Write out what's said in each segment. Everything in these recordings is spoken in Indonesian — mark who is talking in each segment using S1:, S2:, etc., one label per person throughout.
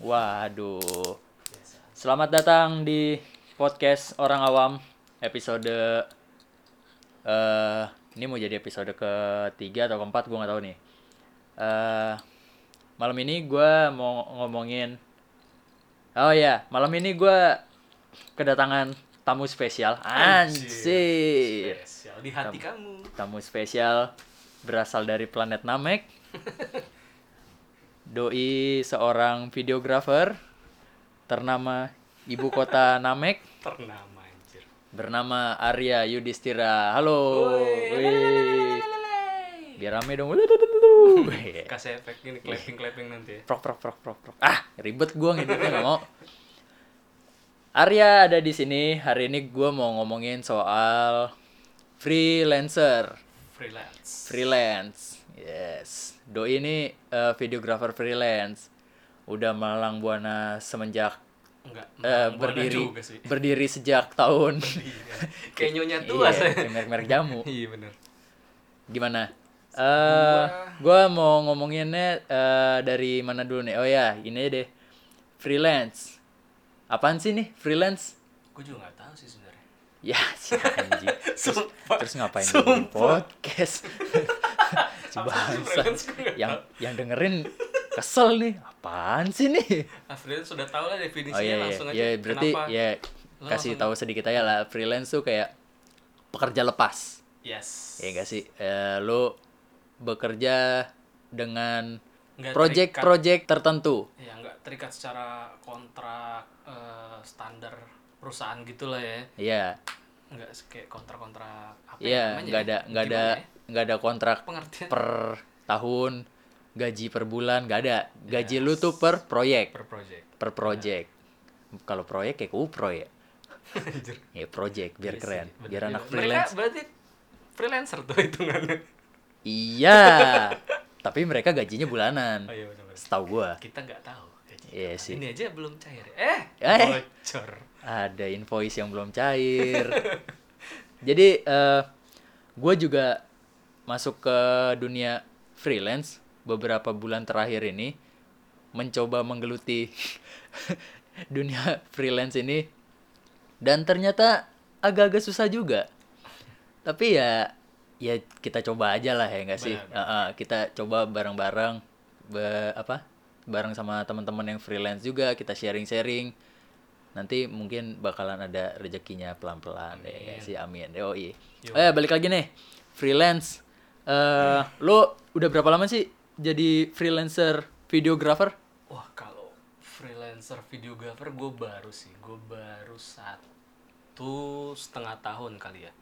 S1: Waduh. Selamat datang di podcast Orang Awam episode eh ini mau jadi episode ketiga atau keempat gue nggak tahu nih. eh malam ini gue mau ngomongin Oh ya, malam ini gue kedatangan tamu spesial. Anjir.
S2: Spesial di hati kamu.
S1: Tamu spesial berasal dari planet Namek. Doi seorang videographer ternama ibu kota Namek
S2: Ternama anjir.
S1: bernama Arya Yudhistira. Halo. Oh, Wih. Biar rame dong. Wih.
S2: Kasih efek gini
S1: Iya.
S2: clapping-clapping nanti ya.
S1: prok prok prok prok prok. Ah, ribet gua ngeditnya nggak mau. Arya ada di sini. Hari ini gua mau ngomongin soal freelancer.
S2: Freelance.
S1: freelance. Yes. Doi ini eh, videographer freelance. Udah malang buana semenjak
S2: Enggak.
S1: eh,
S2: buana
S1: berdiri
S2: juga sih.
S1: berdiri sejak tahun
S2: Iya. Kayak nyonya
S1: Iya,
S2: tua saya.
S1: kayak merek-merek jamu.
S2: Iya bener.
S1: Gimana? Eh, gua mau ngomonginnya eh, dari mana dulu nih? Oh ya, ini deh. Freelance. Apaan sih nih freelance?
S2: Gue juga nggak tahu sih sebenarnya.
S1: Ya, si anjing.
S2: Sumpah.
S1: Terus ngapain
S2: Sumpah.
S1: dengerin podcast? si
S2: Apa sih
S1: bangsa.
S2: freelance? Gua nggak
S1: yang yang dengerin kesel nih. Apaan sih nih?
S2: Ah, freelance sudah tahu lah definisinya
S1: Oh iya iya.
S2: langsung aja.
S1: Ya berarti
S2: Kenapa?
S1: ya
S2: Lo
S1: kasih
S2: langsung-
S1: tahu sedikit aja lah freelance tuh kayak pekerja lepas.
S2: Yes.
S1: Ya enggak sih? Eh, lo bekerja dengan
S2: Nggak terikat.
S1: project-project tertentu.
S2: Ya nggak terikat secara kontrak eh, standar perusahaan gitulah ya.
S1: Iya.
S2: Nggak se- kayak kontrak-kontrak apa
S1: Iya,
S2: namanya
S1: enggak
S2: ya?
S1: ada enggak ada
S2: Gimana ya?
S1: enggak ada kontrak
S2: pengertian per,
S1: per tahun, gaji per bulan enggak ada. Gaji
S2: Iya.
S1: lu tuh per proyek,
S2: project.
S1: per project. Kalau proyek kayak kupro ya.
S2: Anjir.
S1: Ya project biar
S2: Iya
S1: keren,
S2: sih, bener
S1: biar
S2: juga.
S1: anak freelance Hmm.
S2: Mereka berarti freelancer tuh hitungannya.
S1: Iya. Tapi mereka gajinya bulanan.
S2: Oh iya benar-benar.
S1: Setahu gua.
S2: Kita nggak tahu. gaji
S1: Iya
S2: kapan.
S1: sih.
S2: Ini aja belum cair. Eh,
S1: Eh.
S2: bocor.
S1: Ada invoice yang belum cair. Jadi eh gua juga masuk ke dunia freelance beberapa bulan terakhir ini mencoba menggeluti dunia freelance ini dan ternyata agak-agak susah juga. Tapi ya ya kita coba aja lah ya nggak sih?
S2: Benar,
S1: Heeh, kita coba bareng-bareng be- apa? Bareng sama teman-teman yang freelance juga kita sharing-sharing. Nanti mungkin bakalan ada rezekinya pelan-pelan ya nggak sih? Amin. Yoi.
S2: Yo.
S1: Eh
S2: Iya.
S1: balik lagi nih freelance. Eh lo udah berapa lama sih jadi freelancer videographer?
S2: Wah, kalau freelancer videographer gue baru sih. Gue baru satu setengah tahun kali ya.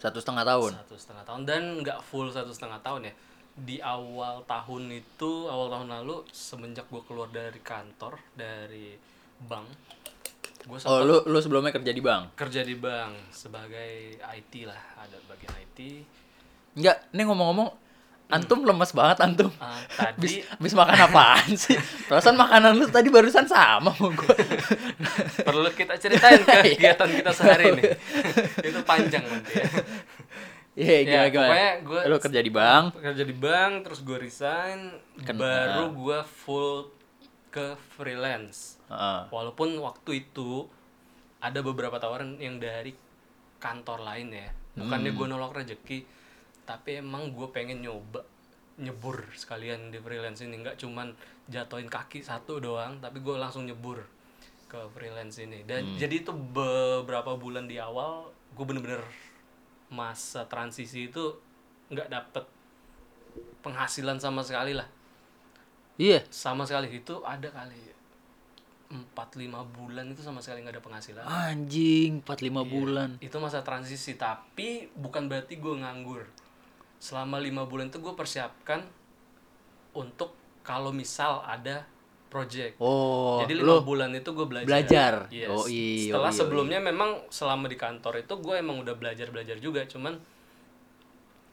S1: Satu setengah tahun.
S2: Satu setengah tahun dan nggak full satu setengah tahun ya. Di awal tahun itu, awal tahun lalu, semenjak gue keluar dari kantor, dari bank, gue
S1: Oh, lu lu sebelumnya kerja di bank?
S2: kerja di bank sebagai IT lah ada bagian IT
S1: Enggak, ini ngomong-ngomong antum lemes banget antum.
S2: Ah,
S1: Bis,
S2: tadi
S1: bis makan apaan sih? Perasaan makanan lu tadi barusan sama sama gua.
S2: perlu kita ceritain kegiatan kita sehari ini itu panjang nanti ya
S1: Iya,
S2: Ya,
S1: gimana gimana?
S2: pokoknya gua
S1: Lu kerja di bank,
S2: kerja di bank terus gue resign
S1: Ken-
S2: baru gue full ke freelance
S1: Heeh.
S2: walaupun waktu itu ada beberapa tawaran yang dari kantor lain ya bukannya gue nolak rezeki tapi emang gue pengen nyoba nyebur sekalian di freelance ini nggak cuman jatoin kaki satu doang tapi gue langsung nyebur ke freelance ini dan jadi itu beberapa bulan di awal gue bener-bener masa transisi itu nggak dapet penghasilan sama sekali lah
S1: Iya.
S2: sama sekali itu ada kali empat lima bulan itu sama sekali nggak ada penghasilan
S1: Anjing, 45
S2: Iya.
S1: bulan.
S2: itu masa transisi tapi bukan berarti gue nganggur selama lima bulan itu gue persiapkan untuk kalau misal ada project
S1: Oh, lu
S2: jadi lima bulan itu gue belajar.
S1: belajar.
S2: Yes.
S1: Yoi,
S2: Setelah
S1: yoi,
S2: sebelumnya memang selama di kantor itu gue emang udah belajar belajar juga, cuman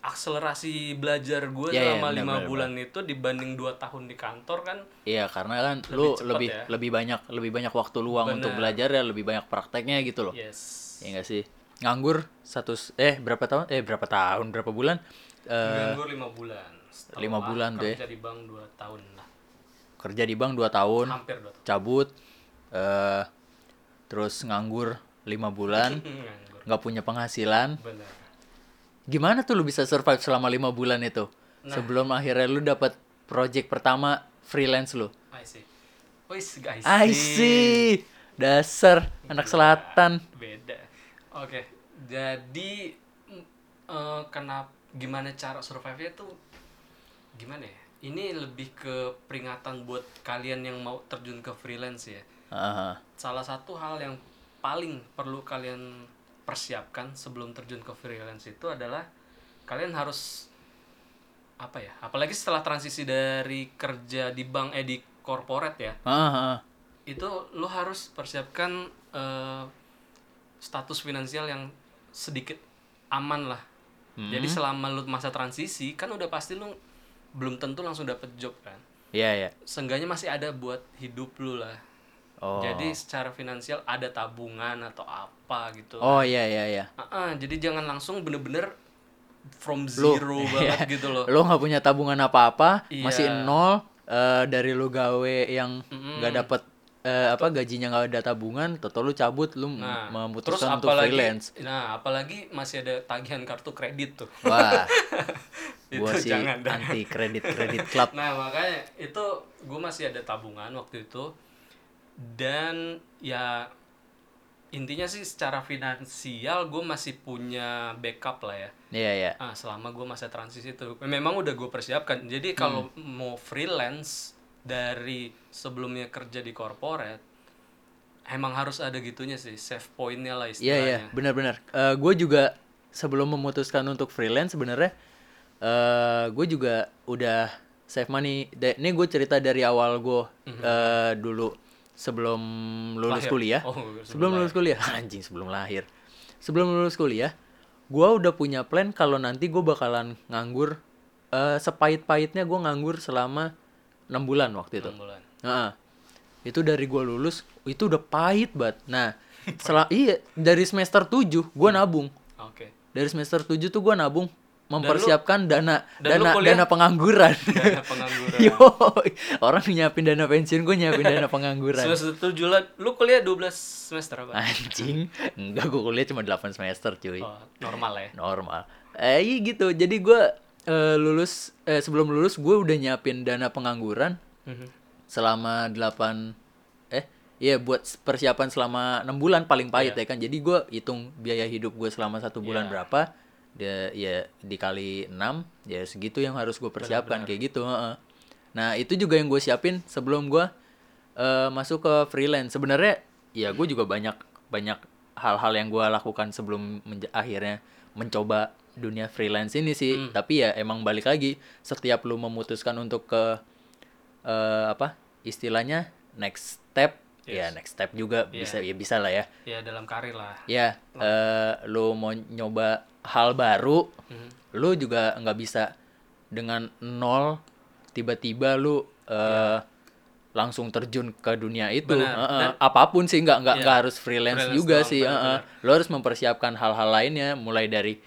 S2: akselerasi belajar gue
S1: Iya, iya,
S2: selama
S1: benar,
S2: lima
S1: benar,
S2: bulan itu dibanding dua tahun di kantor kan
S1: Iya, karena kan lu
S2: cepet
S1: lebih
S2: ya.
S1: lebih banyak lebih banyak waktu luang untuk
S2: Bener.
S1: belajar ya, lebih banyak prakteknya gitu loh.
S2: yes
S1: Iya nggak sih? Nganggur satu s- eh berapa tahun? Eh berapa tahun? Berapa bulan? Eh
S2: nganggur lima bulan Setelah
S1: lima bulan tuh ya.
S2: kerja di bank dua tahun lah
S1: kerja di bank 2 tahun,
S2: hampir dua tahun
S1: cabut eh terus nganggur 5 bulan,
S2: nganggur
S1: nggak punya penghasilan.
S2: benar
S1: Gimana tuh lu bisa survive selama 5 bulan itu? Sebelum akhirnya lu dapat project pertama freelance lu.
S2: I see Wis, I see.
S1: I see. Dasar anak selatan.
S2: beda oke jadi mm, eh, kenapa gimana cara survive-nya tuh gimana ya ini lebih ke peringatan buat kalian yang mau terjun ke freelance ya
S1: Aha.
S2: salah satu hal yang paling perlu kalian persiapkan sebelum terjun ke freelance itu adalah kalian harus apa ya apalagi setelah transisi dari kerja di bank eh di corporate ya
S1: Aha.
S2: itu lo harus persiapkan eh, status finansial yang sedikit aman lah. Jadi selama lo masa transisi kan udah pasti lo belum tentu langsung dapet job kan.
S1: Iya, ya.
S2: Seenggaknya masih ada buat hidup lo lah.
S1: Oh.
S2: Jadi secara finansial ada tabungan atau apa gitu.
S1: Oh, iya iya iya.
S2: Ah, ah, jadi jangan langsung bener-bener from
S1: Lu- Iya.
S2: zero banget gitu loh.
S1: Lo nggak punya tabungan apa-apa,
S2: Iya.
S1: masih nol eh, dari lu gawe yang nggak dapet eh, apa gajinya nggak ada tabungan, toto lu cabut lu m-
S2: Nah, terus
S1: memutuskan untuk
S2: apalagi
S1: freelance.
S2: nah apalagi masih ada tagihan kartu kredit tuh.
S1: Wah,
S2: Itu
S1: gua sih
S2: jangan, jangan.
S1: anti kredit kredit club.
S2: Nah makanya itu gue masih ada tabungan waktu itu dan ya intinya sih secara finansial gue masih punya backup lah ya.
S1: Iya ya.
S2: Ah, selama gue masa transisi itu memang udah gue persiapkan. Jadi kalau
S1: Hmm.
S2: mau freelance dari sebelumnya kerja di corporate emang harus ada gitunya sih save pointnya lah
S1: Iya
S2: istilahnya.
S1: iya, benar-benar. Eh gue juga sebelum memutuskan untuk freelance sebenarnya eh gue juga udah save money. Da- Ini gue cerita dari awal gue eh dulu sebelum lulus
S2: Mhm. Lahir.
S1: kuliah.
S2: Oh,
S1: sebelum,
S2: sebelum
S1: lulus kuliah, anjing sebelum lahir. Sebelum lulus kuliah, gue udah punya plan kalau nanti gue bakalan nganggur eh sepahit-pahitnya gue nganggur selama enam bulan waktu itu.
S2: enam bulan.
S1: Nah, itu dari gua lulus itu udah pahit banget. Nah, setelah iya dari semester 7 gua nabung.
S2: Oke.
S1: Dari semester 7 tuh gua nabung mempersiapkan dana
S2: dan lu
S1: dana
S2: kuliah-
S1: dana pengangguran.
S2: Dana pengangguran.
S1: Yo, orang nyiapin dana pensiun, gue nyiapin dana pengangguran. Ah,
S2: Semester tujuh lah. Lu kuliah 12 semester apa?
S1: Anjing, enggak gue kuliah cuma 8 semester cuy.
S2: Oh, normal lah ya.
S1: normal eh iya gitu jadi gua eh, lulus eh, sebelum lulus gue udah nyiapin dana pengangguran selama 8 eh iya buat s- persiapan selama enam bulan paling pahit ya kan jadi gua hitung biaya hidup gue selama satu bulan berapa dia ya dikali 6 ya segitu yang harus gue persiapkan kayak gitu heeh. nah itu juga yang gue siapin sebelum gua eh, masuk ke freelance sebenarnya ya gue juga banyak banyak hal-hal yang gua lakukan sebelum menja- akhirnya mencoba dunia freelance ini sih tapi ya emang balik lagi setiap lu memutuskan untuk ke eh, apa istilahnya next step ya next step juga
S2: Iya.
S1: bisa ya bisa lah ya
S2: Ya dalam karir lah.
S1: ya eh, lu mau nyoba hal baru
S2: Mhm.
S1: lu juga nggak bisa dengan nol tiba-tiba lu eh, langsung terjun ke dunia itu
S2: Iya. Benar.
S1: Eh, eh, apapun sih nggak nggak
S2: Iya.
S1: nggak harus freelance,
S2: Freelance
S1: juga
S2: doang,
S1: sih eh, eh. lu harus mempersiapkan hal-hal lainnya mulai dari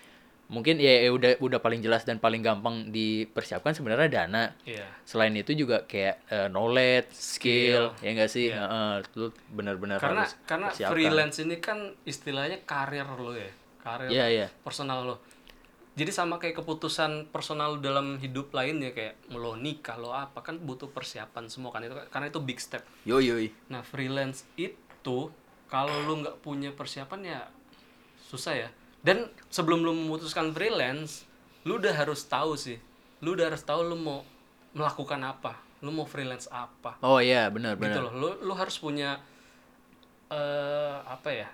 S1: mungkin ya, ya udah udah paling jelas dan paling gampang dipersiapkan sebenarnya dana
S2: Iya.
S1: selain itu juga kayak eh, knowledge, skill, ya enggak sih? Heeh, lu benar-benar
S2: Iya. Karena
S1: harus
S2: karena
S1: persiapkan.
S2: freelance ini kan istilahnya karir lo ya. Karir
S1: Iya, iya.
S2: personal lo. Jadi sama kayak keputusan personal dalam hidup lainnya kayak lo nikah lo apa kan butuh persiapan semua kan itu karena itu big step.
S1: Yo yo. yo.
S2: Nah, freelance itu kalau lu nggak punya persiapan ya susah ya. Dan sebelum lu memutuskan freelance, lu udah harus tahu sih. Lu udah harus tahu lu mau melakukan apa, lu mau freelance apa.
S1: Oh iya, benar
S2: Gitu
S1: benar.
S2: loh. Lu lu harus punya eh apa ya?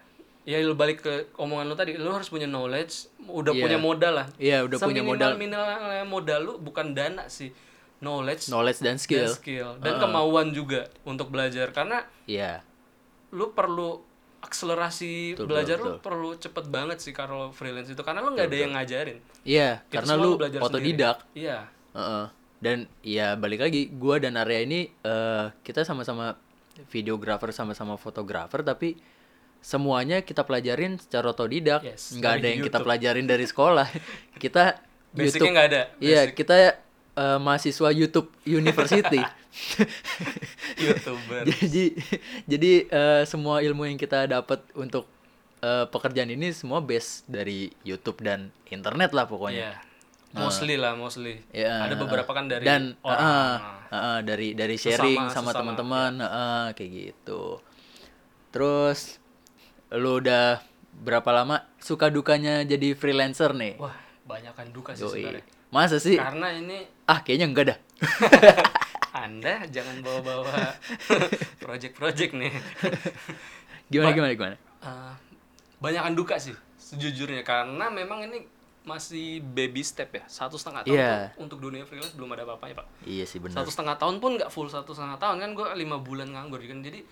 S2: Ya lu balik ke omongan lu tadi, lu harus punya knowledge, udah
S1: Iya.
S2: punya modal lah.
S1: Iya, udah punya modal.
S2: Minimal modal lu bukan dana sih. Knowledge,
S1: Knowledge dan
S2: dan
S1: skill.
S2: skill dan kemauan juga untuk belajar karena
S1: Iya.
S2: lu perlu akselerasi
S1: Betul,
S2: belajar
S1: betul,
S2: lu perlu cepet banget sih kalau freelance itu karena lu nggak ada yang ngajarin
S1: Iya,
S2: Itu
S1: karena
S2: semua
S1: lu
S2: belajar
S1: otodidak.
S2: sendiri. iya
S1: Heeh. Dan ya balik lagi, gua dan Arya ini eh, kita sama-sama videographer, sama-sama fotografer, tapi semuanya kita pelajarin secara otodidak.
S2: Yes,
S1: nggak
S2: dari
S1: ada yang kita
S2: YouTube.
S1: pelajarin dari sekolah. kita
S2: basicnya
S1: YouTube.
S2: nggak ada
S1: Iya, kita eh, mahasiswa YouTube University.
S2: youtuber
S1: jadi jadi eh, semua ilmu yang kita dapat untuk eh, pekerjaan ini semua base dari YouTube dan internet lah pokoknya.
S2: Iya. mostly lah mostly
S1: Ya,
S2: ada beberapa kan dari
S1: Eh, dan
S2: orang
S1: ah, ah, ah, dari dari sharing sama
S2: Sesama, sesama, iya.
S1: teman-teman ah, ah, kayak gitu terus lu udah berapa lama suka dukanya jadi freelancer nih
S2: wah banyakkan duka sih
S1: Yoi.
S2: sebenarnya
S1: masa sih
S2: karena ini
S1: ah kayaknya enggak dah
S2: anda jangan bawa-bawa project-project nih
S1: gimana gimana gimana
S2: Eh, banyakan duka sih sejujurnya karena memang ini masih baby step ya satu setengah tahun
S1: Iya.
S2: tuh untuk dunia freelance belum ada apa-apanya pak
S1: iya sih benar
S2: satu setengah tahun pun nggak full satu setengah tahun kan gue lima bulan nganggur kan jadi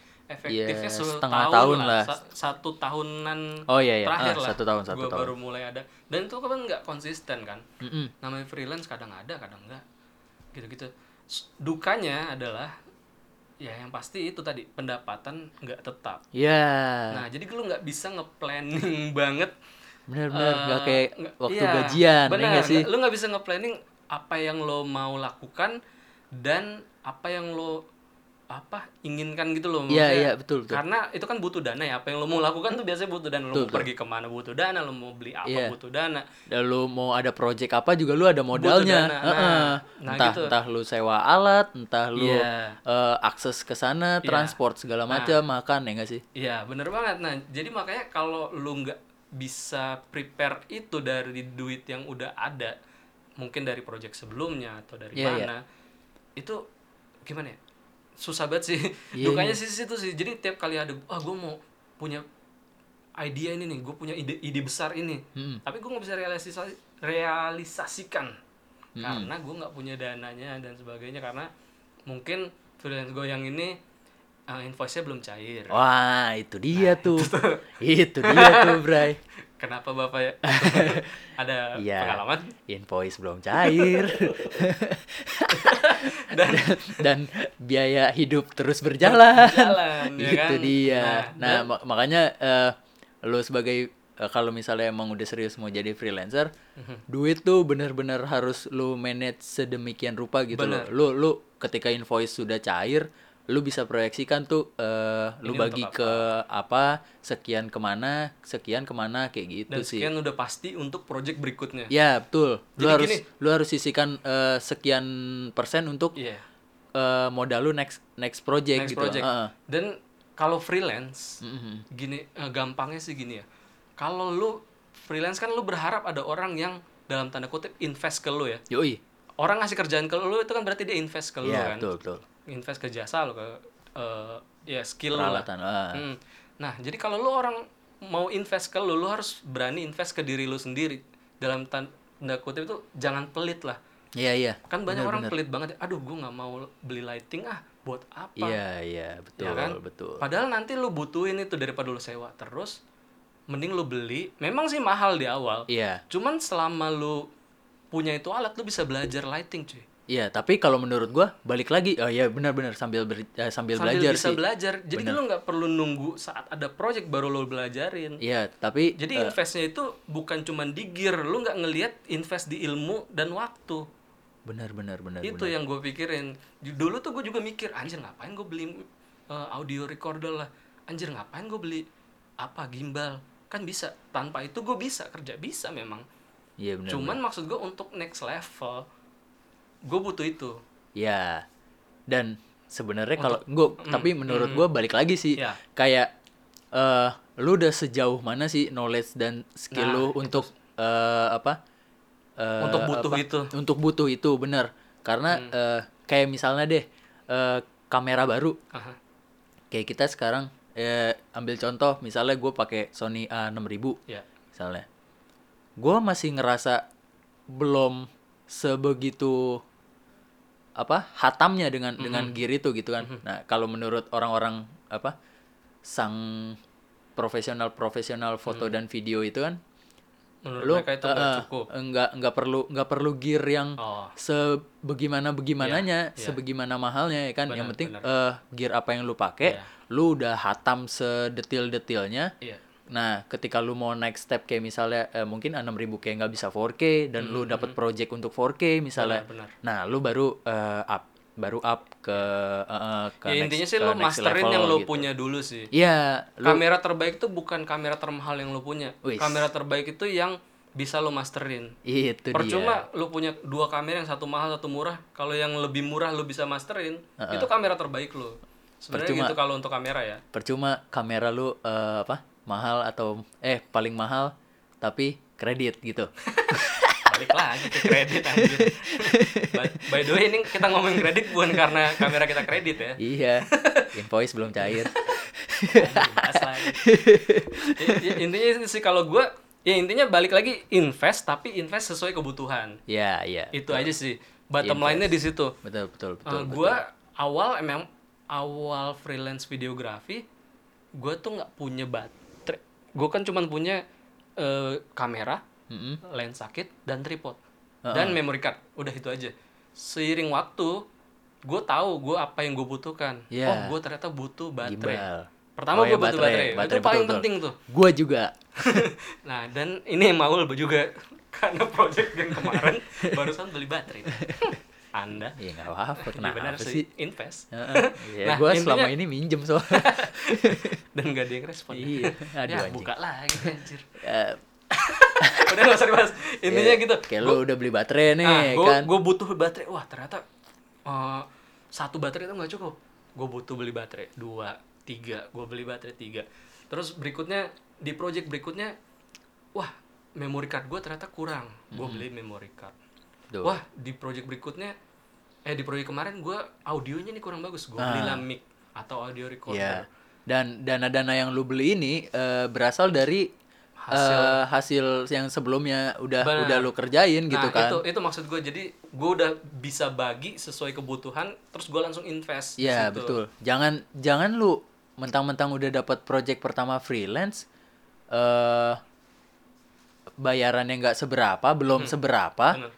S1: Iya,
S2: efektifnya setahun
S1: setengah tahun lah.
S2: Sa- satu tahunan
S1: Oh, iya, iya. Ah,
S2: terakhir lah
S1: satu tahun, satu
S2: Gua
S1: tahun. Hmm.
S2: baru mulai ada dan itu kan nggak konsisten kan
S1: Mm-mm.
S2: namanya freelance kadang ada kadang enggak gitu-gitu S- dukanya adalah ya yang pasti itu tadi pendapatan nggak tetap
S1: ya
S2: nah jadi lu nggak bisa nge-planning banget
S1: benar-benar
S2: eh,
S1: nggak kayak
S2: nggak-
S1: waktu
S2: iya,
S1: gajian ya
S2: benar
S1: nggak sih
S2: Nggak- lu nggak bisa nge-planning apa yang lo mau lakukan dan apa yang lo apa inginkan gitu loh
S1: iya
S2: Maksudnya,
S1: iya betul betul
S2: karena itu kan butuh dana ya apa yang lo mau lakukan tuh biasanya butuh dana lo
S1: Betul,
S2: mau pergi kemana butuh dana lo mau beli apa
S1: Iya.
S2: butuh dana
S1: dan lu mau ada project apa juga lu ada modalnya
S2: dana,
S1: Heeh.
S2: nah. Nah,
S1: entah
S2: gitu.
S1: entah lu sewa alat entah lu
S2: Iya. Nah.
S1: eh, akses ke sana transport segala macam makan ya nggak sih
S2: Iya bener banget nah jadi makanya kalau lu nggak bisa prepare itu dari duit yang udah ada mungkin dari project sebelumnya atau dari
S1: Iya,
S2: mana itu gimana ya susah banget sih
S1: Iya,
S2: dukanya sih situ sih jadi tiap kali ada ah gue mau punya idea ini nih gue punya ide ide besar ini
S1: Mm-mm.
S2: tapi gue nggak bisa realisasi realisasikan
S1: Hmm.
S2: karena gue nggak punya dananya dan sebagainya karena mungkin freelance gue yang ini eh, invoice-nya belum cair
S1: wah itu dia
S2: Nah,
S1: tuh itu dia tuh Bray
S2: Kenapa bapak ya? ada
S1: Iya.
S2: pengalaman
S1: invoice belum cair
S2: dan
S1: dan biaya hidup terus berjalan
S2: jalan, ya
S1: itu
S2: kan?
S1: dia
S2: Nah,
S1: nah, mak- makanya eh, lu sebagai eh, kalau misalnya emang udah serius mau jadi freelancer
S2: Mhm.
S1: duit tuh bener-bener harus lu manage sedemikian rupa gitu loh
S2: Bener.
S1: lu lu ketika invoice sudah cair lu bisa proyeksikan tuh eh, lu
S2: Ini untuk
S1: bagi
S2: apa?
S1: ke apa sekian kemana sekian kemana kayak gitu
S2: dan
S1: sih
S2: sekian udah pasti untuk project berikutnya.
S1: ya betul lu
S2: Jadi
S1: harus
S2: gini.
S1: lu harus sisihkan eh, sekian persen untuk
S2: Iya.
S1: eh, modal lu next next project
S2: Next
S1: gitu
S2: project.
S1: Heeh.
S2: Dan kalau freelance,
S1: Mhm.
S2: gini eh, gampangnya sih gini ya. Kalau lu freelance kan lu berharap ada orang yang dalam tanda kutip invest ke lu ya.
S1: yoi
S2: Orang ngasih kerjaan ke lu itu kan berarti dia invest ke lu
S1: ya
S2: kan.
S1: betul betul
S2: Invest ke jasa lu ke eh, ya skill lu lah.
S1: peralatan ah.
S2: Hmm. Nah, jadi kalau lu orang mau invest ke lu, lu harus berani invest ke diri lu sendiri. Dalam tanda kutip itu jangan pelit lah.
S1: iya iya
S2: Kan banyak
S1: Bener,
S2: orang
S1: bener.
S2: pelit banget, aduh gue nggak mau beli lighting ah, buat apa?
S1: iya iya betul
S2: Ya kan?
S1: betul
S2: Padahal nanti lu butuhin itu daripada lu sewa terus, mending lu beli. Memang sih mahal di awal.
S1: iya
S2: Cuman selama lu punya itu alat lu bisa belajar lighting, cuy.
S1: Iya, tapi kalau menurut gua balik lagi, oh iya benar-benar sambil ber- eh, sambil,
S2: Sambil
S1: belajar
S2: bisa
S1: sih.
S2: belajar. Jadi lu nggak perlu nunggu saat ada project baru lu belajarin.
S1: Iya, tapi
S2: Jadi investnya itu bukan cuman di gear, lu nggak ngelihat invest di ilmu dan waktu.
S1: benar-benar Iya, benar.
S2: itu yang gue pikirin. Ju- Dulu tuh gue juga mikir, anjir ngapain gue beli uh, audio recorder lah, anjir ngapain gue beli apa gimbal, kan bisa. Tanpa itu gue bisa kerja bisa memang.
S1: Iya benar.
S2: cuman maksud gue untuk next level, gue butuh itu.
S1: Iya. Dan sebenarnya kalau gua tapi menurut gua balik lagi sih
S2: Iya.
S1: kayak eh lu udah sejauh mana sih knowledge dan skill
S2: Nah,
S1: lu untuk eh, apa? Eh,
S2: Untuk butuh itu. Hmm.
S1: Untuk butuh itu benar. Karena eh, kayak misalnya deh eh, kamera baru
S2: Aha.
S1: kayak kita sekarang eh, ambil contoh misalnya gue pakai Sony A6000
S2: Ya.
S1: misalnya gue masih ngerasa belum sebegitu apa hatamnya dengan dengan gear itu gitu kan nah kalau menurut orang-orang apa sang profesional-profesional foto dan video itu kan
S2: menurut
S1: lu
S2: mereka itu nggak
S1: eh,
S2: cukup
S1: eh, nggak nggak perlu nggak perlu gear yang
S2: oh
S1: sebagaimana
S2: Iya,
S1: begimananya
S2: iya.
S1: sebagaimana mahalnya ya kan yang
S2: Benar,
S1: penting
S2: benar.
S1: eh, gear apa yang lu pakai
S2: Iya.
S1: lu udah hatam sedetil-detilnya
S2: iya
S1: nah ketika lu mau naik step kayak misalnya eh, mungkin 6000 kayak nggak bisa 4K dan lu dapat project untuk 4K misalnya
S2: Benar,
S1: nah lu baru eh, up baru up ke eh, eh, ke
S2: ya
S1: next-
S2: intinya sih
S1: ke
S2: lo
S1: next
S2: masterin
S1: level
S2: yang lo
S1: gitu.
S2: punya dulu sih
S1: iya lu
S2: kamera terbaik tuh bukan kamera termahal yang lo punya
S1: Wis.
S2: kamera terbaik itu yang bisa lo masterin
S1: itu dia
S2: percuma lo punya dua kamera yang satu mahal satu murah kalau yang lebih murah lo bisa masterin itu kamera terbaik lo
S1: Percuma.
S2: sebenarnya gitu kalau untuk kamera ya
S1: percuma kamera lu eh, apa mahal atau eh paling mahal tapi kredit gitu
S2: balik lagi ke kredit anjir by, by the way ini kita ngomongin kredit bukan karena kamera kita kredit ya
S1: iya invoice belum cair
S2: Aduh, bahas lagi. Ya, ya, intinya sih kalau gue ya intinya balik lagi invest tapi invest sesuai kebutuhan
S1: ya iya
S2: itu aja sih bottom line-nya di situ
S1: betul betul betul
S2: Eh, gua awal emang awal freelance videografi gue tuh nggak punya baterai gue kan cuman punya eh, kamera
S1: Mm-mm.
S2: lensa kit dan tripod dan memory card udah itu aja seiring waktu gue tahu gue apa yang gue butuhkan
S1: Ya.
S2: oh gue ternyata butuh baterai
S1: Gimbal. Oh
S2: pertama
S1: iya,
S2: gue butuh baterai, itu paling
S1: betul, betul.
S2: penting tuh
S1: gua juga
S2: nah dan ini yang Maul juga karena project yang kemarin barusan beli baterai anda
S1: ya nggak apa apa
S2: Iya benar
S1: kenapa
S2: sih
S1: sih
S2: invest
S1: Heeh. ya,
S2: Nah,
S1: gua
S2: intinya-
S1: selama ini minjem soalnya
S2: dan gak ada yang respon
S1: Iya. Aduh,
S2: ya
S1: anjing.
S2: buka lagi anjir
S1: Eh,
S2: udah gak usah dibahas intinya
S1: ya,
S2: gitu Ah,
S1: kayak lu udah beli baterai nih
S2: gue
S1: kan
S2: butuh baterai wah ternyata eh, satu baterai itu nggak cukup gue butuh beli baterai dua tiga gue beli baterai tiga terus berikutnya di project berikutnya wah memory card gue ternyata kurang gue beli memory card
S1: Tuh.
S2: wah di project berikutnya eh di project kemarin gue audionya nih kurang bagus gue beli lah mic atau audio recorder
S1: Ah. Iya. Dan dana-dana yang lu beli ini eh, berasal dari hasil hasil yang sebelumnya udah
S2: Benar.
S1: udah lu kerjain gitu
S2: nah,
S1: kan.
S2: itu itu maksud gue jadi gue udah bisa bagi sesuai kebutuhan terus gue langsung invest di
S1: Iya,
S2: situ.
S1: betul. Jangan jangan lu mentang-mentang udah dapat project pertama freelance eh bayarannya nggak seberapa, belum
S2: Hmm.
S1: seberapa.
S2: benar.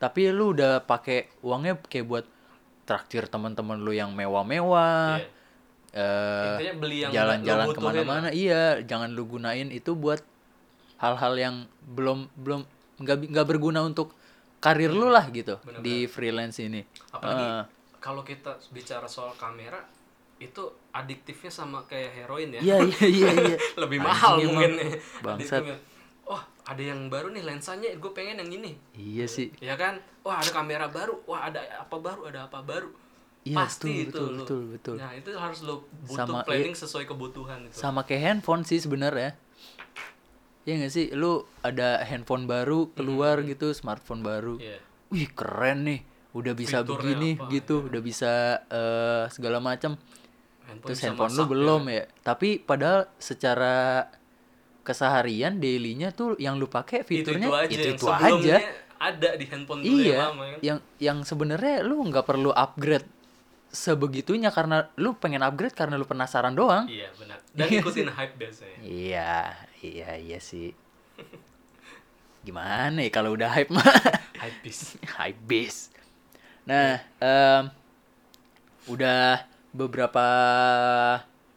S1: Tapi lu udah pakai uangnya kayak buat traktir teman-teman lu yang mewah-mewah.
S2: Iya.
S1: eh,
S2: Intinya beli yang
S1: jalan-jalan
S2: lo butuhin
S1: kemana-mana iya jangan lu gunain itu buat hal-hal yang belum belum nggak bi- nggak berguna untuk karir lu lah gitu di freelance ini
S2: Iya.
S1: Eh,
S2: apalagi ya. kalau kita bicara soal kamera itu adiktifnya sama kayak heroin ya
S1: iya iya iya iya
S2: lebih mahal
S1: Anjing
S2: mungkin
S1: emang. bangsat
S2: Adiktifnya. wah ada yang baru nih lensanya gue pengen yang ini
S1: iya sih
S2: ya kan wah ada kamera baru wah ada apa baru ada apa baru
S1: Iya, betul,
S2: pasti itu
S1: betul,
S2: lo.
S1: betul, betul.
S2: nah itu harus lo butuh
S1: Sama, iya.
S2: planning sesuai kebutuhan itu
S1: sama kayak handphone sih sebenarnya Iya nggak sih lu ada handphone baru keluar gitu smartphone baru
S2: Iya.
S1: wih keren nih udah bisa
S2: Fiturnya
S1: begini
S2: apa,
S1: gitu udah bisa eh, segala macam
S2: handphone
S1: Terus
S2: bisa
S1: handphone lu
S2: masak,
S1: belum ya. Tapi padahal secara keseharian dailynya tuh yang lu pakai fiturnya
S2: itu, aja yang
S1: itu-itu
S2: sebelumnya
S1: aja.
S2: ada di handphone dulu
S1: Iya.
S2: yang lama kan
S1: Yang yang sebenarnya lu nggak perlu upgrade sebegitunya karena lu pengen upgrade karena lu penasaran doang.
S2: iya benar dan ikutin hype biasanya
S1: Iya, iya iya sih. Gimana ya kalau udah hype mah?
S2: hype bis
S1: hype beast. Nah, em, udah beberapa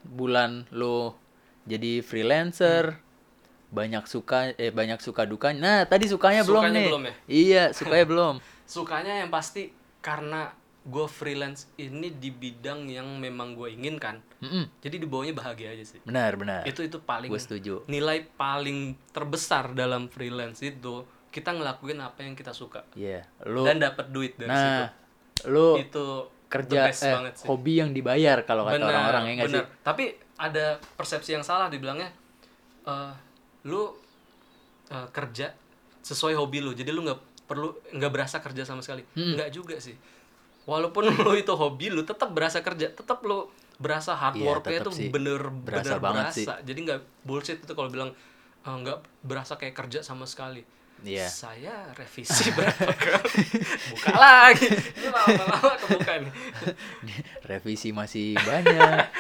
S1: bulan lo jadi freelancer, banyak suka eh banyak suka dukanya. Nah, tadi sukanya, belum
S2: Sukanya
S1: nih.
S2: belum ya?
S1: Iya, sukanya belum.
S2: sukanya yang pasti karena gue freelance ini di bidang yang memang gue inginkan
S1: Mm-mm,
S2: jadi di bawahnya bahagia aja sih
S1: benar, benar.
S2: itu itu paling
S1: Gue Iya. setuju.
S2: nilai paling terbesar dalam freelance itu kita ngelakuin apa yang kita suka
S1: Iya, lu
S2: dan dapat duit dari situ
S1: Nah, lu
S2: itu the
S1: kerja
S2: best
S1: eh,
S2: banget sih
S1: hobi yang dibayar kalau kata
S2: Benar,
S1: orang-orang ya nggak sih?
S2: benar. Tapi ada persepsi yang salah dibilangnya eh, lu eh, kerja sesuai hobi lu. Jadi lu nggak perlu nggak berasa kerja sama sekali.
S1: Hmm.
S2: Nggak juga sih. Walaupun lu itu hobi lu tetap berasa kerja, tetap lu berasa hard
S1: Iya,
S2: worknya
S1: tetap
S2: itu
S1: sih.
S2: bener
S1: Berasa
S2: bener
S1: banget
S2: berasa. Jadi nggak bullshit itu kalau bilang eh, nggak berasa kayak kerja sama sekali.
S1: Iya.
S2: Saya revisi berapa kali? Buka lagi. Lu lama-lama kebuka nih.
S1: Revisi masih banyak.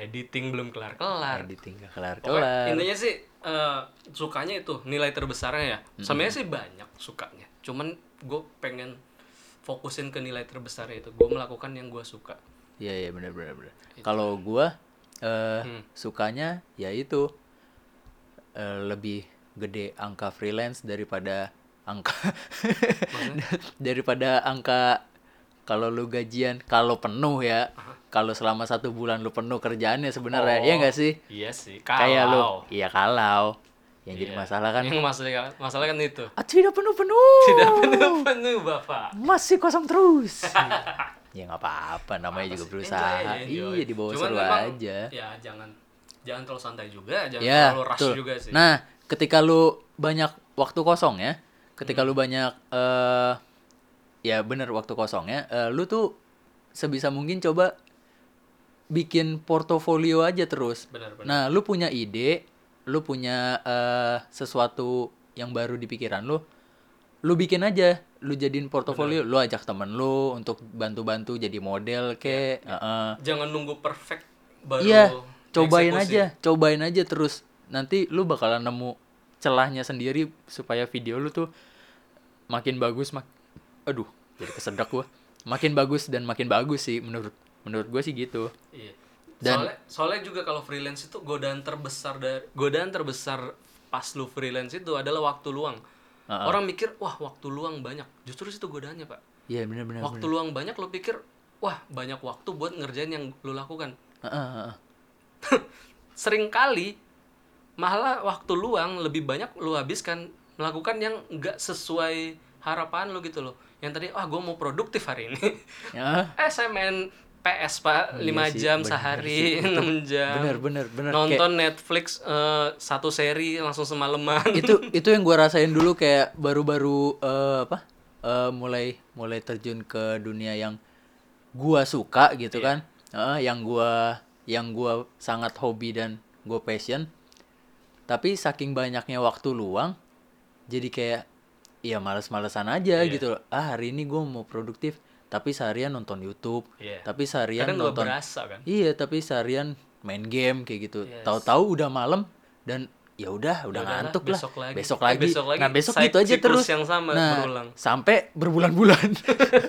S2: editing belum kelar-kelar
S1: editing gak kelar
S2: Pokoknya
S1: kelar
S2: intinya sih eh, sukanya itu nilai terbesarnya ya sebenarnya sih banyak sukanya cuman gue pengen fokusin ke nilai terbesarnya itu gue melakukan yang gue suka
S1: iya iya benar benar benar
S2: Gitu.
S1: kalau gua eh
S2: Hmm.
S1: sukanya ya itu eh, lebih gede angka freelance daripada angka daripada angka kalau lu gajian kalau penuh ya kalau selama satu bulan lu penuh kerjaannya sebenarnya ya nggak sih
S2: iya sih
S1: kayak lu
S2: kalau
S1: iya kalau yang jadi
S2: Iya.
S1: masalah kan
S2: yang masalah masalah kan itu
S1: "Ah, tidak penuh penuh
S2: tidak penuh penuh bapak
S1: masih kosong terus ya nggak apa-apa namanya juga berusaha
S2: Enjoy, enjoy.
S1: iya di bawah
S2: Cuman
S1: seru
S2: memang,
S1: aja
S2: ya jangan jangan terlalu santai juga jangan
S1: ya
S2: terlalu rush
S1: betul.
S2: juga sih
S1: nah ketika lu banyak waktu kosong ya
S2: Hmm.
S1: ketika lu banyak eh ya bener waktu kosongnya eh, lu tuh sebisa mungkin coba bikin portofolio aja terus
S2: benar benar
S1: Nah, lu punya ide, lu punya eh, sesuatu yang baru di pikiran lu, lu bikin aja, lu jadiin portofolio, lu ajak temen lu untuk bantu-bantu jadi model kek, heeh.
S2: jangan nunggu perfect baru
S1: Iya, cobain
S2: eksekusi.
S1: aja, cobain aja terus. Nanti lu bakalan nemu celahnya sendiri supaya video lu tuh makin bagus, mak aduh, jadi kesedak gua. Makin bagus dan makin bagus sih menurut menurut gue sih gitu.
S2: Iya.
S1: Dan-
S2: soalnya, soalnya juga kalau freelance itu godaan terbesar dari godaan terbesar pas lu freelance itu adalah waktu luang. Orang mikir, "Wah, waktu luang banyak." Justru itu godaannya, Pak.
S1: Iya, bener-bener.
S2: Waktu luang banyak lo pikir, "Wah, banyak waktu buat ngerjain yang lu lakukan."
S1: Heeh, heeh.
S2: Seringkali malah waktu luang lebih banyak lu habiskan melakukan yang nggak sesuai harapan lu gitu loh. Yang tadi, "Wah, gua mau produktif hari ini."
S1: Ya.
S2: eh, saya main PS, Pak, 5
S1: Iya sih,
S2: jam
S1: bener
S2: sehari, 6 jam.
S1: bener bener bener Kayak Iya,
S2: nonton Netflix eh, satu seri langsung semalaman
S1: itu itu yang gua rasain dulu kayak baru-baru eh, apa eh, mulai mulai terjun ke dunia yang gua suka gitu
S2: Iya.
S1: kan Heeh, yang gua yang gua sangat hobi dan gua passion tapi saking banyaknya waktu luang jadi kayak ya males-malesan aja
S2: Iya.
S1: gitu loh ah hari ini gua mau produktif tapi seharian nonton YouTube
S2: Iya.
S1: tapi seharian
S2: kadang nggak
S1: nonton
S2: berasa kan
S1: Iya, tapi seharian main game kayak gitu.
S2: Yes.
S1: Tahu-tahu udah malam dan ya udah, udah
S2: udahlah,
S1: ngantuk lah.
S2: besok lagi.
S1: Besok
S2: Eh,
S1: lagi.
S2: besok lagi.
S1: Nah, besok
S2: Cyc-
S1: gitu aja
S2: siklus
S1: terus.
S2: yang sama
S1: nah,
S2: berulang.
S1: sampai berbulan-bulan.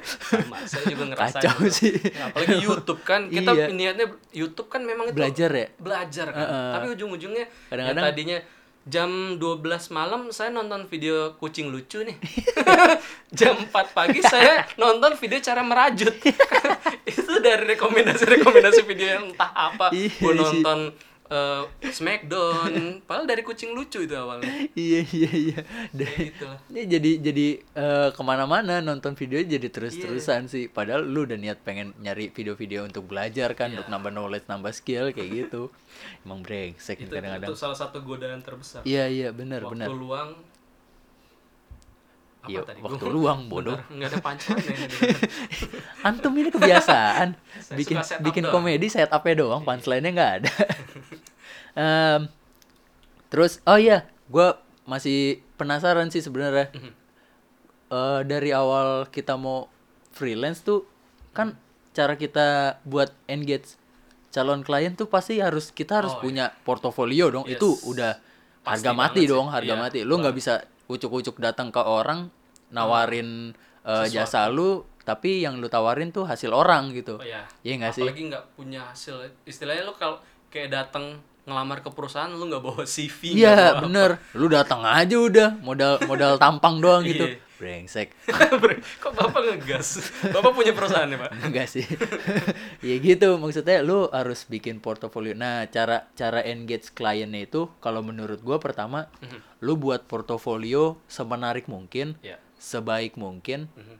S2: sama saya juga ngerasain
S1: Kacau
S2: itu.
S1: sih.
S2: Ya, apalagi YouTube kan kita
S1: Iya.
S2: niatnya YouTube kan memang itu
S1: Belajar ya?
S2: belajar kan tapi ujung-ujungnya yang
S1: Kadang-kadang-
S2: tadinya jam 12 malam saya nonton video kucing lucu nih jam 4 pagi saya nonton video cara merajut itu dari rekomendasi-rekomendasi video yang entah apa
S1: Iya
S2: gue
S1: sih.
S2: nonton eh, Smackdown padahal dari kucing lucu itu awalnya
S1: iya, iya, iya. Dan-
S2: Kayak gitu lah.
S1: Ini jadi jadi eh, kemana-mana nonton video jadi terus-terusan
S2: Iya.
S1: sih. Padahal lu udah niat pengen nyari video-video untuk belajar kan,
S2: Iya.
S1: untuk nambah knowledge, nambah skill kayak gitu. Emang brengsek nih
S2: itu,
S1: Iya, kadang-kadang.
S2: itu salah satu godaan terbesar
S1: Iya iya benar
S2: waktu
S1: benar.
S2: luang apa
S1: Iya,
S2: tadi
S1: waktu luang bodoh.
S2: Bentar, nggak ada punchline ya ini.
S1: Antum ini kebiasaan
S2: Saya
S1: bikin
S2: suka setup Iya.
S1: bikin
S2: doang.
S1: komedi set up-nya doang, punchline-nya nggak ada. Em, terus oh iya, gua masih penasaran sih sebenarnya.
S2: Mhm.
S1: Eh, dari awal kita mau freelance tuh kan cara kita buat engage calon klien tuh pasti harus kita harus
S2: Oh,
S1: punya portofolio dong. Itu
S2: Yes.
S1: udah
S2: Pasti
S1: harga mati
S2: banget sih.
S1: dong, harga
S2: Iya,
S1: mati. Ya, Lu nggak bisa ucuk-ucuk datang ke orang nawarin eh, jasa lu tapi yang lu tawarin tuh hasil orang gitu.
S2: oh ya
S1: Iya nggak sih?
S2: apalagi nggak punya hasil istilahnya lo kalau kayak datang ngelamar ke perusahaan lu nggak bawa CV nggak
S1: Iya,
S2: bawa-
S1: bener. Lu datang aja udah modal modal tampang doang gitu.
S2: Iya.
S1: Brengsek.
S2: Bre, kok bapak ngegas bapak punya perusahaan ya pak
S1: Enggak sih. ya gitu maksudnya lu harus bikin portofolio. Nah, cara cara engage kliennya itu kalau menurut gua pertama
S2: Mhm.
S1: lu buat portofolio semenarik mungkin,
S2: ya
S1: sebaik mungkin.
S2: Mhm.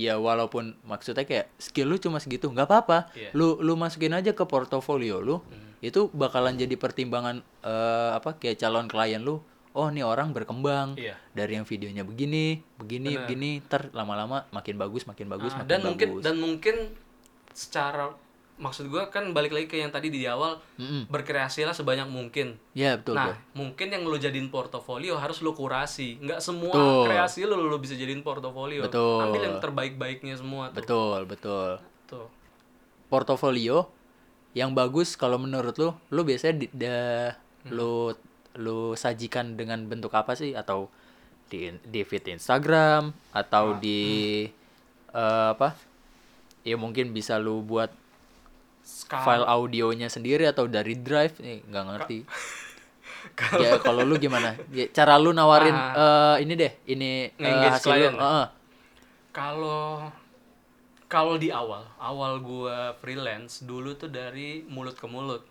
S1: Ya walaupun maksudnya kayak skill lu cuma segitu, nggak apa-apa.
S2: Iya. Hmm.
S1: Lu lu masukin aja ke portofolio lu. Itu bakalan jadi pertimbangan eh, apa kayak calon klien lu. Oh, nih orang berkembang.
S2: Iya.
S1: Dari yang videonya begini, begini, begini, ter lama-lama makin bagus, makin bagus, makin
S2: Ah, dan
S1: bagus.
S2: mungkin dan mungkin secara maksud gua kan balik lagi ke yang tadi di awal
S1: Mm-mm.
S2: berkreasilah sebanyak mungkin
S1: Ya Hmm. betul.
S2: nah,
S1: betul.
S2: mungkin yang lo jadiin portofolio harus lo kurasi. Nggak semua
S1: Betul.
S2: kreasi lo lo bisa jadiin portofolio.
S1: Betul.
S2: Ambil yang terbaik-baiknya semua tuh.
S1: Betul, betul.
S2: Tuh.
S1: Portofolio yang bagus kalau menurut lu lu biasanya di, da-
S2: Hmm.
S1: lu lu sajikan dengan bentuk apa sih atau di di feed Instagram
S2: Ah,
S1: atau di
S2: hmm.
S1: eh, apa ya mungkin bisa lu buat
S2: Ska-
S1: file audionya sendiri atau dari drive nih nggak ngerti ya kalau lu gimana Ya, cara lu nawarin eh, ini deh ini eh,
S2: Ah. Nge-engage
S1: hasil lu
S2: klien. ya?
S1: Heeh.
S2: Kalau kalau di awal, awal gua freelance dulu tuh dari mulut ke mulut.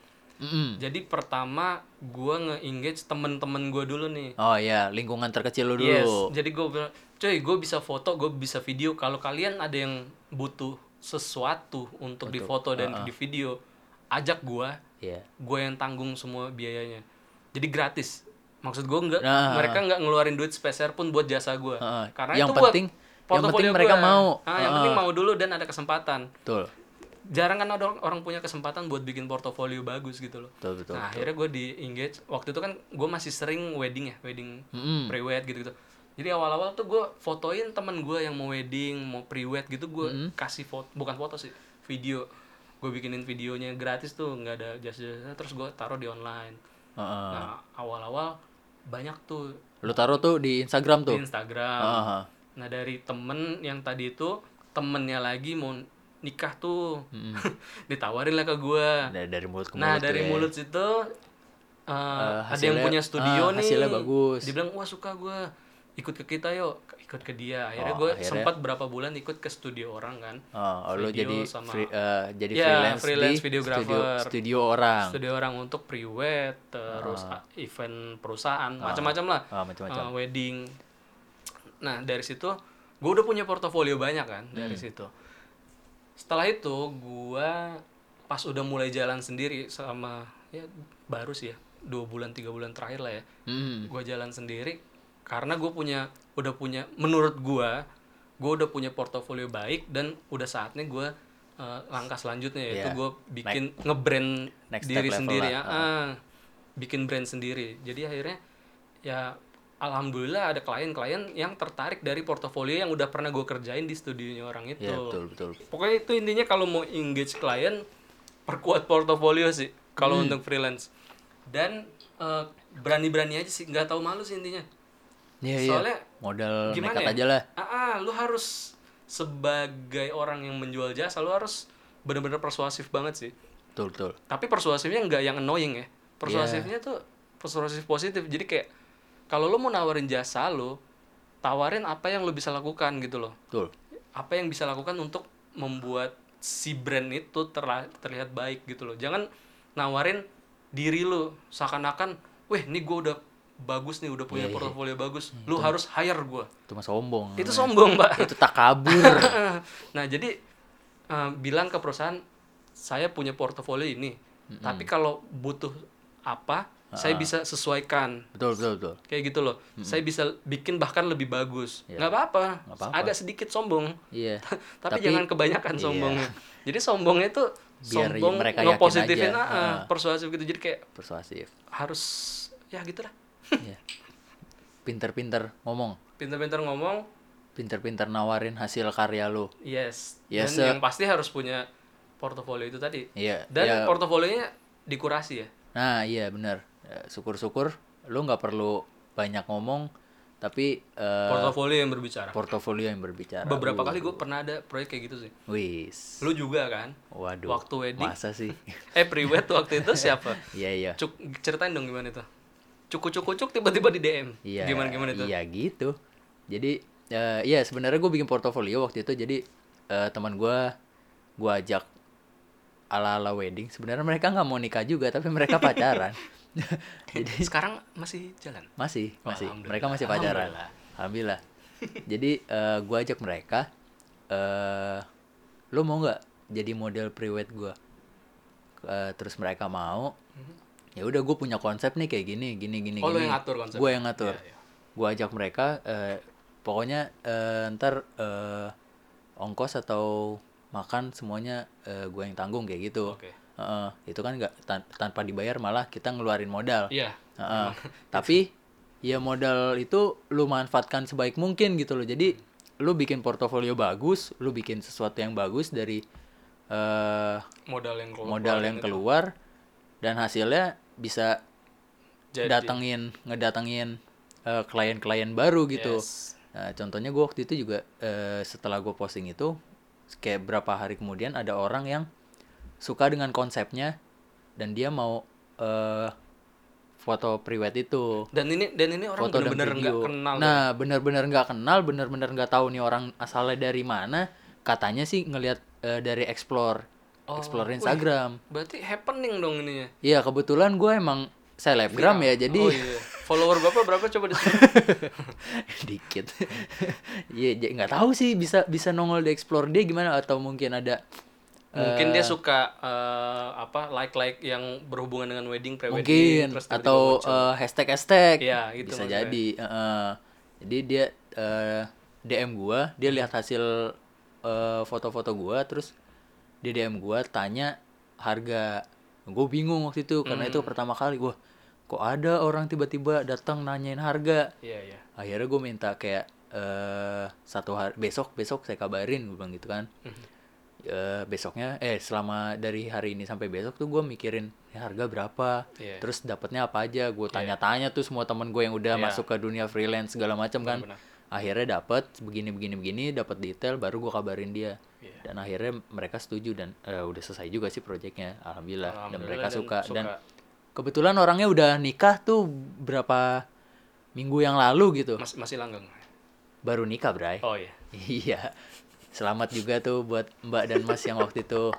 S1: Mm-mm.
S2: Jadi pertama gua nge-engage temen-temen gua dulu nih.
S1: oh ya lingkungan terkecil lu dulu
S2: Yes. Jadi gue bilang, cuy, gue bisa foto, gue bisa video. Kalau kalian ada yang butuh sesuatu untuk difoto dan di video, ajak gua
S1: Iya.
S2: gue yang tanggung semua biayanya. Jadi gratis. Maksud gue nggak,
S1: Nah.
S2: mereka nggak ngeluarin duit sepeser pun buat jasa gua.
S1: Heeh.
S2: Karena
S1: Yang
S2: itu buat
S1: penting- yang
S2: portofolio
S1: penting mereka
S2: gua.
S1: mau.
S2: Ah, yang penting mau dulu dan ada kesempatan.
S1: betul
S2: Jarang kan ada orang- orang punya kesempatan buat bikin portofolio bagus gitu loh.
S1: betul betul
S2: nah akhirnya gue di engage waktu itu kan gue masih sering wedding ya wedding
S1: Mm-mm.
S2: pre-wed gitu gitu jadi awal-awal tuh gue fotoin temen gue yang mau wedding mau pre-wed gitu gue kasih foto bukan foto sih video gue bikinin videonya gratis tuh nggak ada jasa-jasa terus gue taruh di online
S1: Heeh.
S2: nah awal-awal banyak tuh
S1: lu taruh tuh di Instagram
S2: di
S1: tuh Ah.
S2: Instagram
S1: Heeh.
S2: Nah dari temen yang tadi itu temennya lagi mau nikah tuh ditawarin lah ke gue.
S1: Dari- dari mulut ke
S2: Nah
S1: mulut
S2: dari
S1: tuh ya.
S2: mulut situ eh, ada yang
S1: hasilnya-
S2: punya studio
S1: ah,
S2: nih.
S1: hasilnya bagus.
S2: Dibilang wah suka gue ikut ke kita yuk ikut ke dia. Akhirnya
S1: Oh,
S2: gue
S1: akhirnya.
S2: sempat berapa bulan ikut ke studio orang kan.
S1: Oh, lu
S2: Video
S1: jadi
S2: sama-
S1: free- eh, jadi
S2: Ya,
S1: freelance,
S2: freelance
S1: di studio,
S2: videographer.
S1: studio orang.
S2: Studio orang untuk pre-wed terus a- event perusahaan macam-macam lah.
S1: Ah, macam-macam.
S2: Eh, wedding. Nah dari situ gue udah punya portofolio banyak kan dari
S1: Hmm.
S2: situ. Setelah itu gue pas udah mulai jalan sendiri sama ya baru sih ya dua bulan tiga bulan terakhir lah ya
S1: Mm.
S2: gue jalan sendiri karena gue punya udah punya menurut gue gue udah punya portofolio baik dan udah saatnya gue langkah selanjutnya yaitu
S1: Iya.
S2: gue bikin ngebrand
S1: next step
S2: diri
S1: level
S2: sendiri
S1: lah,
S2: ya ah. bikin brand sendiri jadi akhirnya ya alhamdulillah ada klien-klien yang tertarik dari portofolio yang udah pernah gue kerjain di studionya orang itu
S1: Ya, betul betul.
S2: pokoknya itu intinya kalau mau engage klien perkuat portofolio sih kalau untuk freelance dan eh, berani-berani aja sih nggak tahu malu sih intinya
S1: Iya, iya.
S2: soalnya
S1: Modal
S2: gimana
S1: nekat
S2: ya?
S1: aja lah.
S2: ah, ah, lu harus sebagai orang yang menjual jasa lu harus bener-bener persuasif banget sih
S1: Betul betul.
S2: tapi persuasifnya nggak yang annoying ya persuasifnya tuh persuasif positif jadi kayak kalau lu mau nawarin jasa lu tawarin apa yang lu bisa lakukan gitu loh
S1: Betul.
S2: apa yang bisa lakukan untuk membuat si brand itu terla- terlihat baik gitu loh jangan nawarin diri lo seakan-akan weh ini gue udah bagus nih udah punya portofolio bagus lu harus hire gue
S1: Itu mah sombong.
S2: itu sombong pak
S1: itu tak kabur.
S2: nah jadi eh, bilang ke perusahaan saya punya portofolio ini tapi kalau butuh apa saya bisa sesuaikan
S1: betul betul betul.
S2: kayak gitu loh saya bisa bikin bahkan lebih bagus nggak apa-apa
S1: apa-apa.
S2: agak sedikit sombong
S1: Iya.
S2: tapi, jangan kebanyakan sombongnya. Jadi sombongnya itu
S1: Biar
S2: sombong
S1: mereka yakin
S2: ngepositifin
S1: aja.
S2: ah, ah, persuasif gitu. Jadi kayak
S1: persuasif.
S2: harus ya gitu lah.
S1: Iya. Pinter-pinter ngomong,
S2: Pintar-pintar ngomong.
S1: pinter-pinter nawarin hasil karya lu.
S2: Yes.
S1: Yes, sir.
S2: Dan yang pasti harus punya portofolio itu tadi.
S1: Ya, Iya.
S2: Dan
S1: ya.
S2: portofolionya dikurasi ya.
S1: Nah, iya benar. Ya, Syukur-syukur lu nggak perlu banyak ngomong tapi eh,
S2: Portofolio yang berbicara.
S1: portofolio yang berbicara.
S2: Beberapa kali gue pernah ada proyek kayak gitu sih.
S1: Wis.
S2: Lu juga kan?
S1: Waduh.
S2: Waktu wedding.
S1: Masa sih?
S2: Eh priwet waktu itu siapa?
S1: Iya, iya.
S2: Cuk, ceritain dong gimana itu. Cukup cukup cuk tiba-tiba di DM.
S1: Iya.
S2: Gimana gimana itu?
S1: Iya gitu. Jadi eh ya sebenarnya gue bikin portofolio waktu itu jadi eh, teman gue gue ajak ala-ala wedding. Sebenarnya mereka nggak mau nikah juga tapi mereka pacaran. jadi
S2: Sekarang masih jalan.
S1: masih masih
S2: Oh, Alhamdulillah.
S1: mereka masih pacaran.
S2: Alhamdulillah.
S1: Alhamdulillah. jadi eh gue ajak mereka eh lo mau nggak jadi model prewed gue? terus mereka mau. Ya udah gue punya konsep nih kayak gini gini gini
S2: Mhm. Oh, lo
S1: gini.
S2: yang ngatur konsepnya?
S1: Gue yang ngatur.
S2: Iya, iya.
S1: Gue ajak mereka eh, pokoknya eh, ntar eh, ongkos atau makan semuanya gue yang tanggung kayak gitu.
S2: Oke.
S1: Heeh, itu kan nggak tan- tanpa dibayar malah kita ngeluarin modal.
S2: Iya.
S1: Heeh. tapi ya modal itu lu manfaatkan sebaik mungkin gitu loh. Jadi lu bikin portofolio bagus, lu bikin sesuatu yang bagus dari eh, eh
S2: modal yang gitu. keluar
S1: modal yang keluar dan hasilnya bisa
S2: Jadi.
S1: datengin ngedatengin eh, klien-klien baru gitu.
S2: Yes.
S1: Nah, contohnya gue waktu itu juga eh, setelah gue posting itu kayak berapa hari kemudian ada orang yang suka dengan konsepnya dan dia mau eh, foto priwet itu
S2: dan ini dan ini orang
S1: foto dan
S2: bener-bener nggak
S1: video.
S2: kenal ya.
S1: nah, bener-bener nggak kenal, bener-bener nggak tahu nih orang asalnya dari mana. Katanya sih ngelihat eh, dari explore,
S2: Oh,
S1: explore
S2: wih.
S1: Instagram.
S2: berarti happening dong ininya
S1: Iya kebetulan gue emang selebgram ya, jadi
S2: oh iya follower bapak berapa coba di sini
S1: dikit. Iya ja- nggak tahu sih bisa bisa nongol di explore dia gimana atau mungkin ada
S2: mungkin dia suka eh, apa like like yang berhubungan dengan wedding pre wedding
S1: mungkin atau eh, hashtag hashtag
S2: Iya, gitu
S1: bisa
S2: maksudnya.
S1: jadi heeh. jadi dia eh, dm gua dia lihat hasil eh, foto-foto gua terus dia dm gua tanya harga gue bingung waktu itu karena
S2: Hmm.
S1: itu pertama kali gua kok ada orang tiba-tiba datang nanyain harga
S2: iya iya
S1: akhirnya gue minta kayak eh satu hari besok besok saya kabarin gue bilang gitu kan
S2: Mhm.
S1: Eh, besoknya eh selama dari hari ini sampai besok tuh gue mikirin "Ini harga berapa
S2: Iya.
S1: terus dapatnya apa aja gue tanya-tanya tuh semua temen gue yang udah
S2: Iya.
S1: masuk ke dunia freelance segala macam kan
S2: Benar-benar.
S1: akhirnya dapat begini begini begini dapat detail baru gue kabarin dia
S2: Iya.
S1: dan akhirnya mereka setuju dan eh, udah selesai juga sih proyeknya alhamdulillah, dan
S2: Alhamdulillah
S1: mereka
S2: dan
S1: suka. dan
S2: suka.
S1: kebetulan orangnya udah nikah tuh berapa minggu yang lalu gitu
S2: Mas- masih langgeng
S1: baru nikah Bray
S2: oh iya
S1: iya selamat juga tuh buat Mbak dan Mas yang waktu itu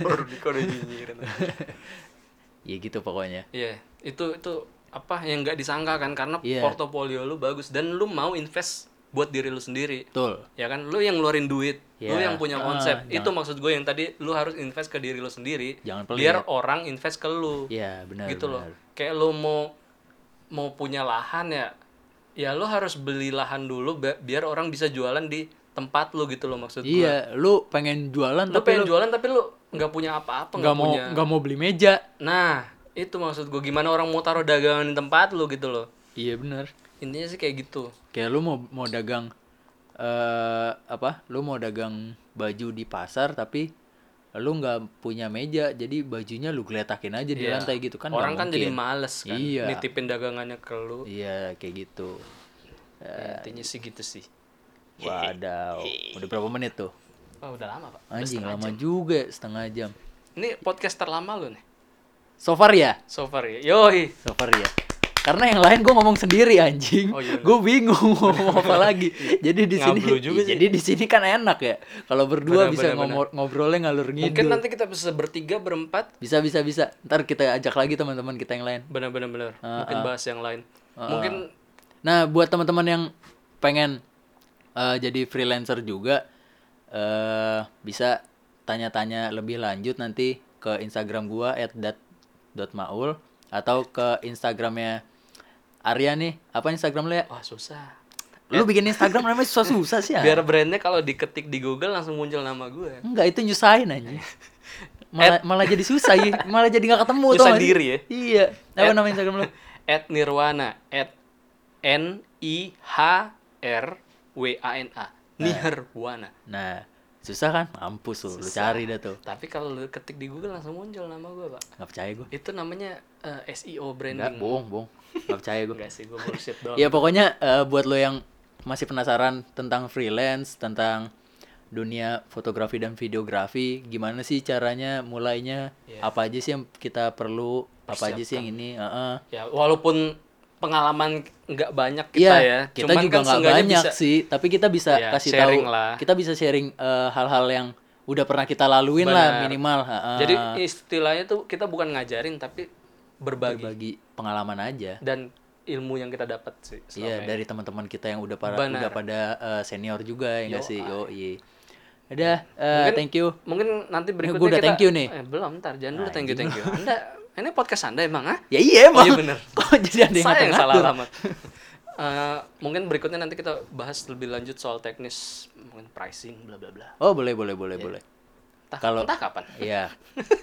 S2: baru di kode nyinyirin
S1: ya gitu pokoknya
S2: iya itu itu apa yang nggak disangka kan karena
S1: Iya.
S2: portofolio lu bagus dan lu mau invest buat diri lu sendiri
S1: betul
S2: ya kan lu yang ngeluarin duit lu
S1: Iya.
S2: yang punya
S1: Ah,
S2: konsep itu maksud gue yang tadi lu harus invest ke diri lu sendiri
S1: Jangan pelit.
S2: biar orang invest ke lu
S1: iya benar
S2: gitu loh
S1: benar.
S2: kayak lu mau mau punya lahan ya ya lu harus beli lahan dulu ba- biar orang bisa jualan di tempat lu gitu loh maksud gue
S1: iya lu pengen jualan
S2: lu
S1: tapi
S2: pengen
S1: lu
S2: jualan tapi lu nggak punya
S1: nggak
S2: apa-apa nggak
S1: mau
S2: punya
S1: nggak mau beli meja
S2: nah itu maksud gue gimana orang mau taruh dagangan di tempat lu gitu loh
S1: iya benar
S2: intinya sih kayak gitu
S1: kayak lu mau mau dagang eh apa lu mau dagang baju di pasar tapi lu nggak punya meja jadi bajunya lu geletakin aja di
S2: Iya.
S1: lantai gitu kan nggak
S2: orang kan jadi
S1: mungkin.
S2: males kan
S1: Iya.
S2: nitipin dagangannya ke lu
S1: iya kayak gitu
S2: Ya,
S1: Iya.
S2: intinya sih gitu sih
S1: wadaw udah berapa menit tuh
S2: Wah Oh, udah lama pak. Udah
S1: anjing
S2: setengah
S1: lama
S2: jam.
S1: juga setengah jam
S2: Ini podcast terlama lu nih.
S1: so far ya
S2: So far ya. Yoi.
S1: So far ya. Karena yang lain gue ngomong sendiri anjing.
S2: Oh, iya,
S1: gue bingung mau ngomong apa lagi. Jadi di sini
S2: Ngablu juga sih.
S1: jadi di sini kan enak ya. Kalau berdua
S2: Benar,
S1: bisa
S2: benar,
S1: ngomor- ngobrolnya ngalur
S2: Mungkin
S1: ngidul.
S2: nanti kita bisa bertiga berempat.
S1: Bisa bisa bisa. Ntar kita ajak lagi teman-teman kita yang lain.
S2: Bener-bener bener.
S1: Ah,
S2: Mungkin bahas yang lain. Mungkin
S1: Nah, buat teman-teman yang pengen eh, jadi freelancer juga eh bisa tanya-tanya lebih lanjut nanti ke Instagram gua @dat.maul atau ke Instagramnya Arya nih. Apa Instagram lu ya?
S2: wah susah.
S1: Lu bikin Instagram namanya susah-susah sih ya?
S2: Biar brandnya kalau diketik di Google langsung muncul nama gue.
S1: Enggak, itu nyusahin aja. Malah, malah jadi susah ya, malah jadi nggak ketemu tau
S2: Nyusahin
S1: nggak sih?
S2: diri ya?
S1: Iya. Apa nama Instagram lu?
S2: At Nirwana. At N I H R W A N A.
S1: Ah.
S2: Nirwana.
S1: Nah, susah kan? Mampus lu, lu cari dah tuh.
S2: Tapi kalau lu ketik di Google langsung muncul nama gue pak.
S1: Nggak percaya gue.
S2: Itu namanya eh,
S1: Enggak,
S2: SEO branding.
S1: bohong, bohong. Nggak percaya gue.
S2: Enggak sih gue bullshit doang.
S1: Ya pokoknya eh, buat lo yang masih penasaran tentang freelance, tentang dunia fotografi dan videografi, gimana sih caranya mulainya? Apa aja sih yang kita perlu? Apa aja sih yang ini? Heeh.
S2: ya walaupun pengalaman nggak banyak
S1: Iya,
S2: kita ya
S1: kita juga nggak
S2: seenggaknya
S1: banyak
S2: bisa-
S1: sih, tapi kita bisa
S2: Iya,
S1: kasih tahu,
S2: sharing lah.
S1: kita bisa sharing eh, hal-hal yang udah pernah kita laluin lah
S2: Benar.
S1: minimal. heeh.
S2: jadi istilahnya tuh kita bukan ngajarin tapi berbagi
S1: bagi pengalaman aja.
S2: dan ilmu yang kita dapat sih selama
S1: Iya, dari teman-teman kita yang udah para
S2: Benar.
S1: udah pada eh, senior juga ya nggak sih? Yo, iya. Udah, eh, thank you.
S2: mungkin nanti berikutnya
S1: gua udah
S2: kita
S1: thank you nih.
S2: Eh, belum ntar jangan dulu thank you thank you anda ini podcast anda emang ah
S1: Ya iya emang.
S2: iya bener.
S1: Kok jadi ada yang
S2: saya yang salah
S1: ngatur-ngatur?
S2: alamat Eh, mungkin berikutnya nanti kita bahas lebih lanjut soal teknis mungkin pricing bla bla bla
S1: Oh, boleh boleh boleh boleh.
S2: Iya. entah,
S1: Kalau-
S2: entah kapan
S1: Iya.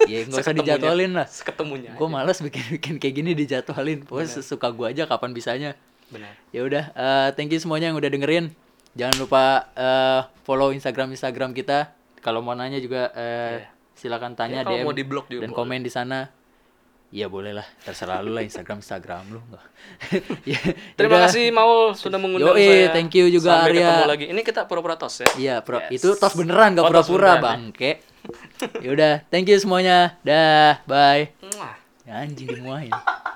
S1: Ya nggak usah
S2: Seketemunya. Iya,
S1: dijadwalin lah.
S2: seketemunya
S1: Gue males bikin-bikin kayak gini dijadwalin. Pokoknya sesuka gue aja kapan bisanya.
S2: benar
S1: ya udah eh, thank you semuanya yang udah dengerin jangan lupa eh, follow instagram instagram kita kalau mau nanya juga eh, silakan tanya
S2: Ya, kalau
S1: DM
S2: mau di-block juga
S1: dan
S2: boleh.
S1: komen di sana. Iya boleh lah, terserah lu lah Instagram Instagram lu enggak. ya,
S2: Terima
S1: yaudah.
S2: kasih Maul sudah mengundang
S1: Yoi,
S2: saya.
S1: thank you juga,
S2: Sampai
S1: Arya.
S2: ketemu lagi. Ini kita pura-pura tos ya.
S1: Iya, pro-
S2: Yes.
S1: itu tos beneran gak
S2: Oh, tos
S1: pura-pura,
S2: beneran,
S1: Bangke. Ya Yaudah, thank you semuanya. Dah, bye.
S2: Muah.
S1: Ya, anjing dimuahin.